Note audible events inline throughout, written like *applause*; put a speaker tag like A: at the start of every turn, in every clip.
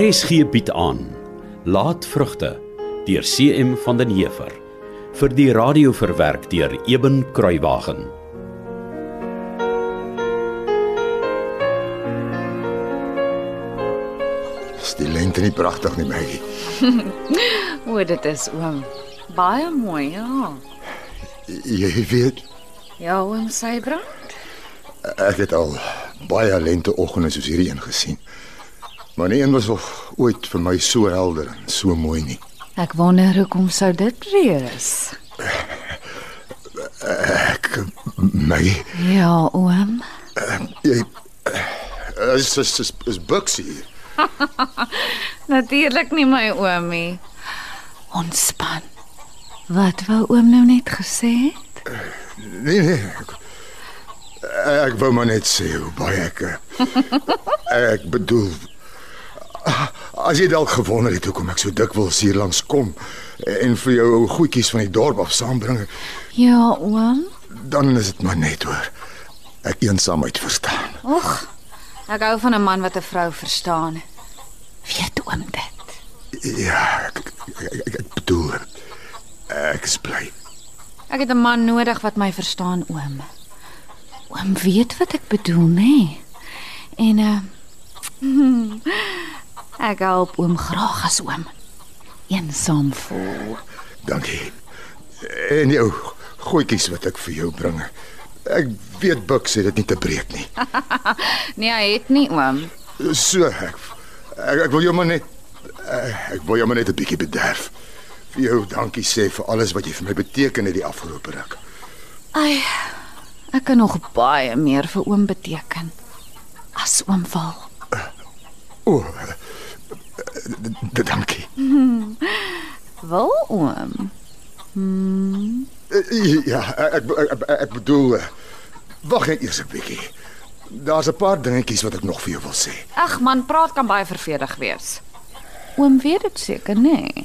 A: RSG bied aan Laatvrugte deur CM van den Heever vir die radio verwerk deur Eben Kruiwagen.
B: Is die lente nie pragtig nie, Maggie?
C: O, dit is oom. Baie mooi, ja.
B: Jy weet,
C: Ja, oom Sybrand.
B: ek het al baie lenteoggende soos hierdie een gesien. Maar nie een was of ooit vir my so helder en so mooi nie.
C: Ek wonder hoekom sou dit wees.
B: Ek Maggie,
C: Ja, oom.
B: jy is is is, is Buxie. hier.
C: Natuurlik nie my oomie. Ontspan. Wat wou oom nou net gesê het?
B: Nee nee. Ek, ek wou maar net sê hoe baie ek *laughs* eh, ek bedoel as jy dalk gewonder het hoekom ek so dikwels hier langs kom en vir jou ou goedjies van die dorp af saambring,
C: Ja, oom.
B: Dan is dit maar net hoor. Ek eensaamheid verstaan.
C: Och, ek hou van 'n man wat 'n vrou verstaan. Weet oom dit?
B: Ja, ek ek, ek, ek bedoel ek is bly.
C: Ek het 'n man nodig wat my verstaan, oom. Oom weet wat ek bedoel, nê? Nee? En uh *laughs* ek help oom graag as oom eensaam voel.
B: Dankie. En jou goedjies wat ek vir jou bring. Ek weet Buck sê dit nie te breek nie.
C: Nee, hy het nie oom.
B: So ek ek, ek wil jou maar net eh, ek wil jou maar net 'n bietjie bederf. Vir jou dankie sê vir alles wat jy vir my beteken het die afgelope ruk.
C: Ai. Ek kan nog baie meer vir oom beteken as oom wil.
B: O. Oh, dankie.
C: Wil oom? Hmm.
B: Eh, Ja, ek ek, ek, ek bedoel eh, wag net eers 'n bietjie. Daar's 'n paar dingetjies wat ek nog vir jou wil sê.
C: Ag man, praat kan baie vervelig wees. Oom weet dit seker, nê? Nee.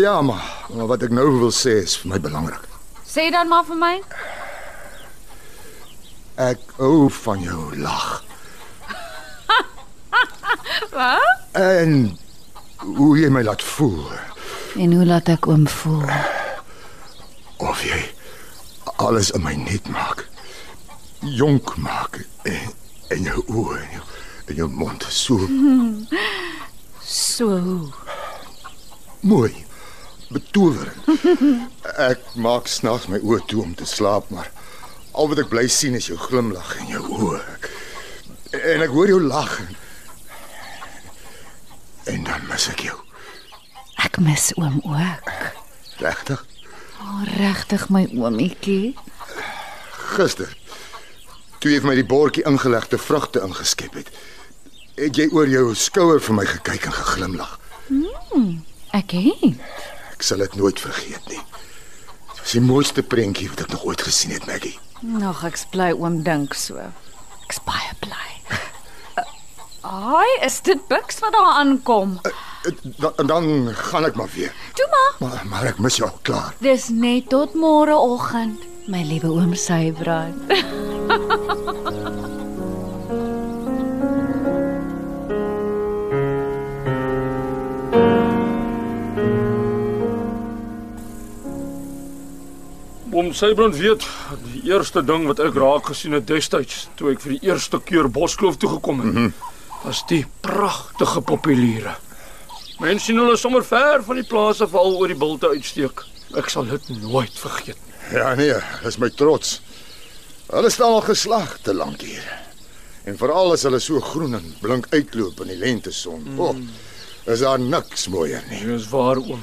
B: Ja, maar, maar wat ek nou wil sê is vir my belangrik.
C: Sê dan maar vir my.
B: Ek hou van jou lag.
C: Wat?
B: En hoe jy my laat voel
C: En hoe laat ek oom voel?
B: of jy alles in my net maak. Jonk eh, maak en, en jou oë en jou, en jou mond so
C: So hoe?
B: mooi, betowerend. *laughs* Ek maak snags my oë toe om te slaap, maar al wat ek bly sien is jou glimlag en jou oë. En ek hoor jou lag. en- En dan mis ek jou.
C: Ek mis oom ook.
B: Regtig?
C: O, oh, regtig my oomietjie.
B: Gister toe jy vir my die bordjie ingelegde vrugte ingeskep het, het jy oor jou skouer vir my gekyk en geglimlag.
C: Ek het.
B: Ek sal dit nooit vergeet nie. Dit was die mooiste prentjie wat ek nog ooit gesien het, Maggie.
C: Nog ek's bly oom dink so. Ek's baie bly. *laughs* Ai, is dit Bux wat daar aankom?
B: Eh, Dan, dan gaan ek maar weer.
C: Toe maar.
B: Maar, maar ek mis jou al klaar.
C: Dis net tot môreoggend, my liewe oom Sybrand.
D: Om Sybrand weet, die eerste ding wat ek raak gesien het destyds toe ek vir die eerste keer Boskloof toe gekom het, was die pragtige populiere. Mense sien hulle sommer ver van die plase veral oor die bilte uitsteek. Ek sal dit nooit vergeet nie.
B: Ja nee, dis my trots. Hulle staan al geslag te lank hier. En veral as hulle so groen en blink uitloop in die lenteson. Mm. O, oh, is daar niks mooier nie.
D: Dis waar oom.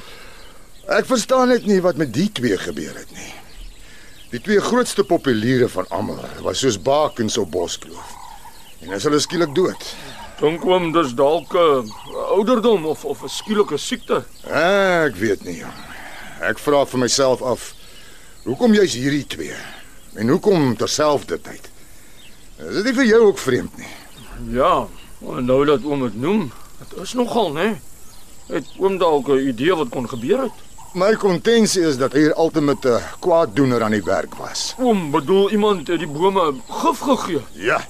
B: Ek verstaan net nie wat met die twee gebeur het nie. Die twee grootste populiere van almal was soos bakens op boskloof. En as hulle skielik dood.
D: Dink oom dis dalk 'n ouderdom of of 'n skielike siekte.
B: Ek weet nie. jong. Ek vra vir myself af hoekom jy's hierdie twee en hoekom terselfdertyd. Is dit nie vir jou ook vreemd nie?
D: Ja, en nou dat oom dit noem, dit is nogal, né? Het oom dalk 'n idee wat kon gebeur het?
B: My kontensie is dat hier altyd met 'n kwaaddoener aan die werk was.
D: Oom bedoel iemand het die bome gif gegee.
B: Ja.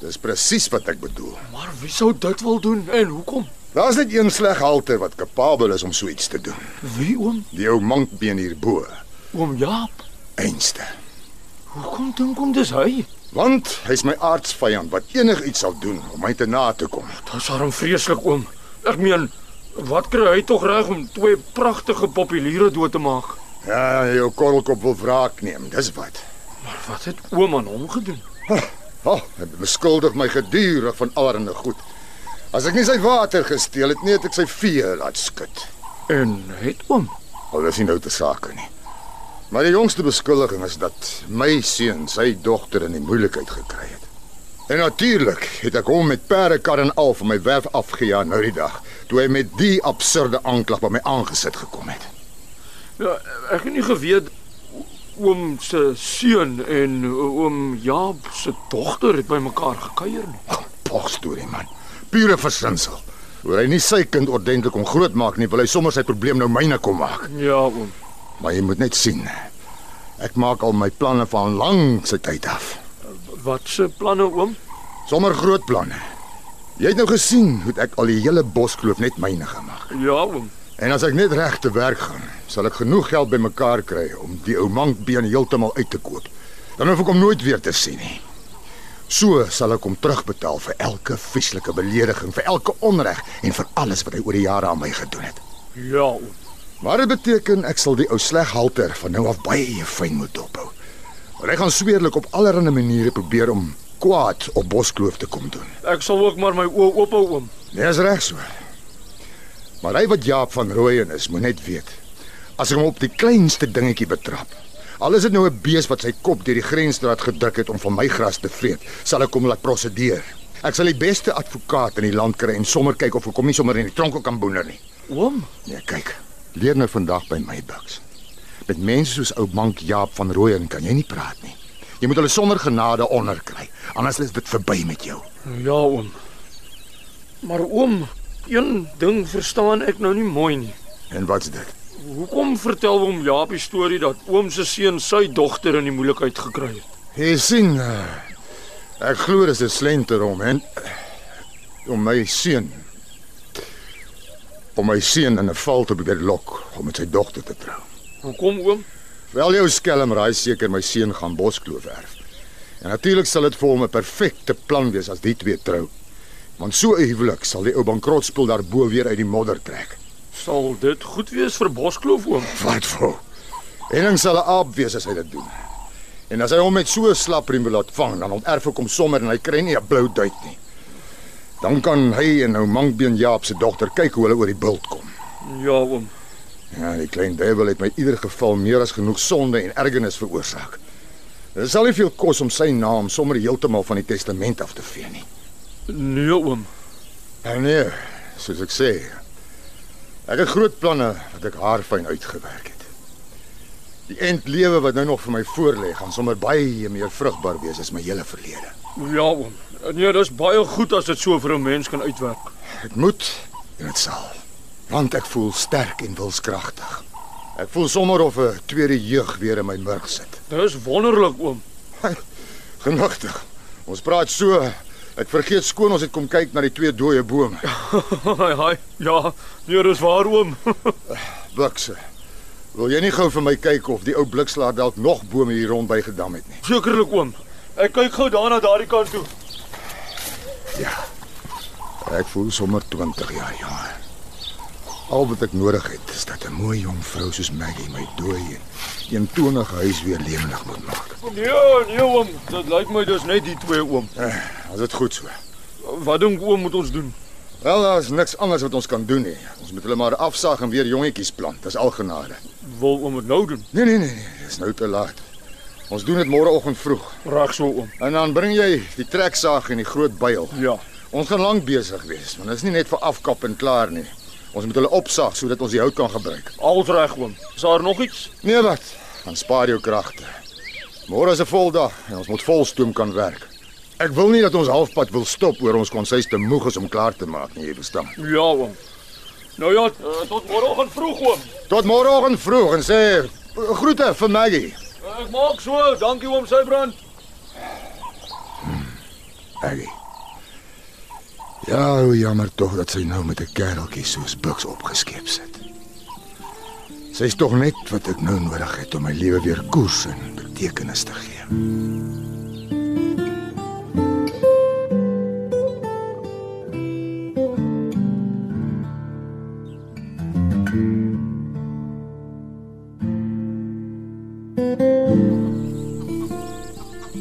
B: Dis presies wat ek bedoel.
D: Maar wie sou dit wil doen en hoekom?
B: Daar's net een sleghalter wat kapabel is om so iets te doen.
D: Wie oom?
B: Die ou mankbeen hierbo,
D: Oom Jaap.
B: einste.
D: Hoekom dink hom dis hy?
B: Want hy's my aardsvyand wat enigiets sal doen om my te na te kom.
D: Dis arm vreeslik oom. Ek meen, wat kry hy tog reg om twee pragtige populiere dood te maak?
B: Ja, jou korrelkop wil wraak neem, dis wat.
D: Maar wat het oom aan hom gedoen?
B: Ha, oh, hy beskuldig my gedurig van allerlei goed. As ek nie sy water gesteel het nie, het ek sy vee laat skud.
D: En het oom
B: Al is nie nou te sake nie. Maar die jongste beskuldiging is dat my seun sy dogter in die moeilikheid gekry het. En natuurlik het ek hom met perdekar en al van my werf afgejaag nou die dag toe hy met die absurde aanklag by my aangesit gekom het.
D: Ja, ek het nie geweet oom se seun en oom Jaap se dogter het by mekaar gekuier nie.
B: Pog storie man. Pure versinsel. Hoor hy nie sy kind ordentlik om grootmaak nie, wil hy sommer sy probleem nou myne kom maak.
D: Ja, oom.
B: Maar jy moet net sien. Ek maak al my planne van lank se tyd af.
D: Wat se planne oom?
B: Sommer groot planne. Jy het nou gesien hoe ek al die hele boskloof net myne gemaak.
D: Ja, oom.
B: En as ek net reg te werk gaan, sal ek genoeg geld bymekaar kry om die ou mankbeen heeltemal uit te koop. Dan hoef ek hom nooit weer te sien nie. So sal ek hom terugbetaal vir elke vieslike belediging, vir elke onreg en vir alles wat hy oor die jare aan my gedoen het.
D: Ja, oom.
B: Maar dit beteken ek sal die ou sleghalter van nou af baie fyn moet dophou. Want hy gaan sweerlik op allerlei maniere probeer om kwaad op Boskloof te kom doen.
D: Ek sal ook maar my oë oop hou oom.
B: Nee, is reg so. Maar hy wat Jaap van Rooyen is, moet net weet. As ek hom op die kleinste dingetjie betrap, al is dit nou 'n bees wat sy kop deur die grensdraad gedruk het om van my gras te vreet, sal ek hom laat prosedeer. Ek sal die beste advokaat in die land kry en sommer kyk of ek hom nie sommer in die tronk kan boener nie.
D: Oom,
B: Nee, kyk. Leer nou vandag by my Bucks. Met mense soos ou Mank Jaap van Rooyen kan jy nie praat nie. Jy moet hulle sonder genade onderkry, anders is dit verby met jou.
D: Ja, oom. Maar oom, een ding verstaan ek nou nie mooi nie.
B: En wat's dit?
D: Hoekom vertel hom Jaapie storie dat oom se seun sy dogter in die moeilikheid gekry het?
B: Jy sien, eh, ek glo dis 'n slenter om en eh, om my seun om my seun in 'n val te probeer lok om met sy dogter te trou.
D: Hoekom oom?
B: Wel jou skelm raai seker my seun gaan Boskloof erf. En natuurlik sal dit vir hom 'n perfekte plan wees as die twee trou. Want so 'n huwelik sal die ou bankrotspil daarbo weer uit die modder trek.
D: Sal dit goed wees vir Boskloof oom?
B: Wat vir? En dan sal 'n aap wees as hy dit doen. En as hy hom met so 'n slapriem wil laat vang, dan onterf ek hom sommer en hy kry nie 'n blou duit nie. Dan kan hy en nou Mankbeen Jaap se dogter kyk hoe hulle oor die bult kom.
D: Ja, oom.
B: Ja, die klein duiwel het my in ieder geval meer as genoeg sonde en ergernis veroorsaak. Dit sal nie veel kos om sy naam sommer heeltemal van die testament af te vee nie.
D: Nee, oom.
B: En nee, soos ek sê, ek het groot planne wat ek haarfyn uitgewerk het. Die eindlewe wat nou nog vir my voorlê, gaan sommer baie meer vrugbaar wees as my hele verlede.
D: Ja, oom. Nee, dis baie goed as dit so vir 'n mens kan uitwerk.
B: Dit moet en dit sal. Want ek voel sterk en wilskragtig. Ek voel sommer of 'n tweede jeug weer in my murg sit.
D: Dis wonderlik, oom. *laughs*
B: Genugtig. Ons praat so. Ek vergeet skoon ons het kom kyk na die twee dooie bome.
D: Haai, haai. Ja, nee, dis waar, oom. *laughs*
B: Blikse. Wil jy nie gou vir my kyk of die ou blikslaer dalk nog bome hier rond by gedam het nie?
D: Sekerlik, oom. Ek kyk gou daar na daardie kant toe.
B: Ja. Ek voel sommer ja, 20 jaar jonger. Al wat ek nodig het is dat 'n mooi jong vrou soos Maggie my dooi en eentonige huis weer lewendig moet maak.
D: Nee, nee, oom. Dit lyk my dis net die twee, oom.
B: Eh, as dit goed so.
D: Wat dink oom moet ons doen?
B: Wel, daar's niks anders wat ons kan doen nie. Ons moet hulle maar afsaag en weer jongetjies plant. Dis al genade.
D: Wil oom dit nou doen?
B: Nee nee nee, nee, dis nou te laat. Ons doen dit môreoggend vroeg.
D: Reg so, oom.
B: En dan bring jy die treksaag en die groot byl.
D: Ja.
B: Ons gaan lank besig wees, want dit is nie net vir afkap en klaar nie. Ons moet hulle opsaag sodat ons die hout kan gebruik.
D: Alles reg, oom. Is daar nog iets?
B: Nee wat? Dan spaar jou kragte. Môre is 'n voldag en ons moet volstoom kan werk. Ek wil nie dat ons halfpad wil stop oor ons konsuis te moeg is om klaar te maak nie, jy verstaan.
D: Ja, oom. Nou ja, eh, tot môreoggend vroeg, oom.
B: Tot môreoggend vroeg en sê eh, groete vir Maggie.
D: Ek maak so. Dankie oom Sybrand.
B: Maggie. Ja, hoe jammer tog dat sy nou met 'n kereltjie soos Bucks opgeskep sit. Sy's tog net wat ek nou nodig het om my lewe weer koers en betekenis te gee.
C: *laughs*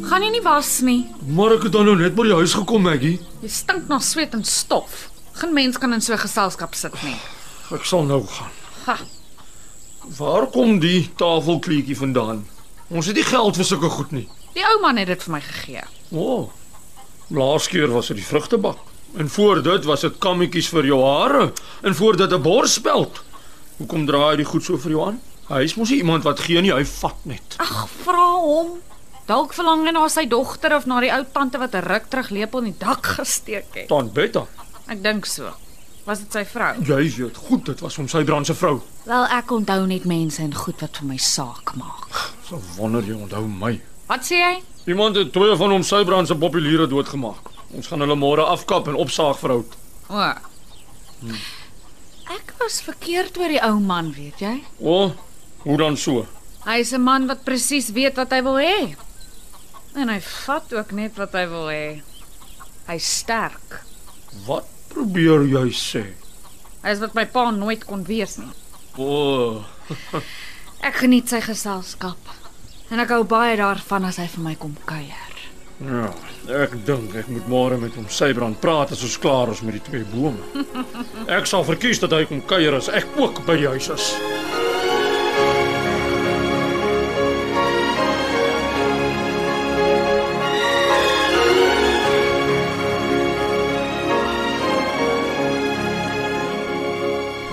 C: Gaan jy nie was nie.
D: Maar ek het dan nou net by die huis gekom, Maggie.
C: Jy stink na sweet en stof. Geen mens kan in so 'n geselskap sit nie.
D: Ek sal nou gaan.
C: Ha.
D: Waar kom die tafelkleedjie vandaan? Ons het nie geld vir sulke goed nie.
C: Die ou man het dit vir my gegee.
D: O. Oh, laas keer was dit die vrugtebak. En voor dit was dit kammetjies vir jou hare en voor dit 'n borspeld. Hoekom draai jy die goed so vir jou aan? Hy is mos nie iemand wat gee nie, hy vat net.
C: Ag, vra hom. Dalk verlang hy na sy dogter of na die ou tante wat 'n ruk terug lepel in die dak gesteek het.
D: Tant Betta,
C: Ek dink so. Was dit sy vrou?
D: jy weet goed, dit was om sy brand se vrou.
C: Wel, ek onthou net mense en goed wat vir my saak maak.
D: So wonder jy onthou my.
C: Wat sê jy?
D: Iemand het twee van hom Sybrand se populiere doodgemaak. Ons gaan hulle môre afkap en opsaag vir hout.
C: O. Ek was verkeerd oor die ou man, weet jy?
D: O, hoe dan so?
C: Hy's 'n man wat presies weet wat hy wil hê. En hy vat ook net wat hy wil hê. Hy's sterk.
D: Wat probeer jy sê?
C: Hy's wat my pa nooit kon wees nie.
D: O,
C: Ek geniet sy geselskap. En ek hou baie daarvan as hy vir my kom kuier.
D: ja, ek dink ek moet môre met hom Sybrand praat as ons klaar is met die twee bome. Ek sal verkies dat hy kom kuier as ek ook by die huis is.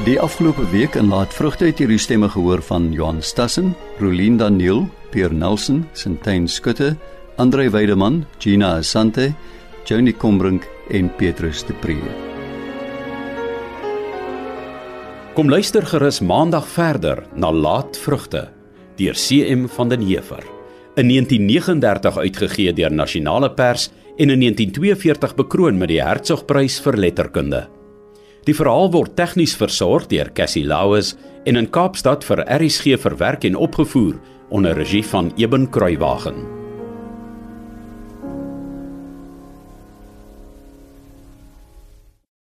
E: Die afgelope week in Laat Vrugte het hierdie stemme gehoor van Johan Stassen, Rolien Daniel, Pierre Nelson, Sintyn Skutte, Andrei Weideman, Gina Asante, Johnny Combrink en Petrus de Pre.
A: Kom luister gerus maandag verder na Laatvrugte deur CM van den Heever in 1939 uitgegee deur Nasionale Pers en in 1942 bekroon met die Hertzogprys vir letterkunde. Die verhaal word tegnies versorg deur Cassie Lauis en in Kaapstad vir RSG verwerk en opgevoer onder regie van Eben Kruiwagen.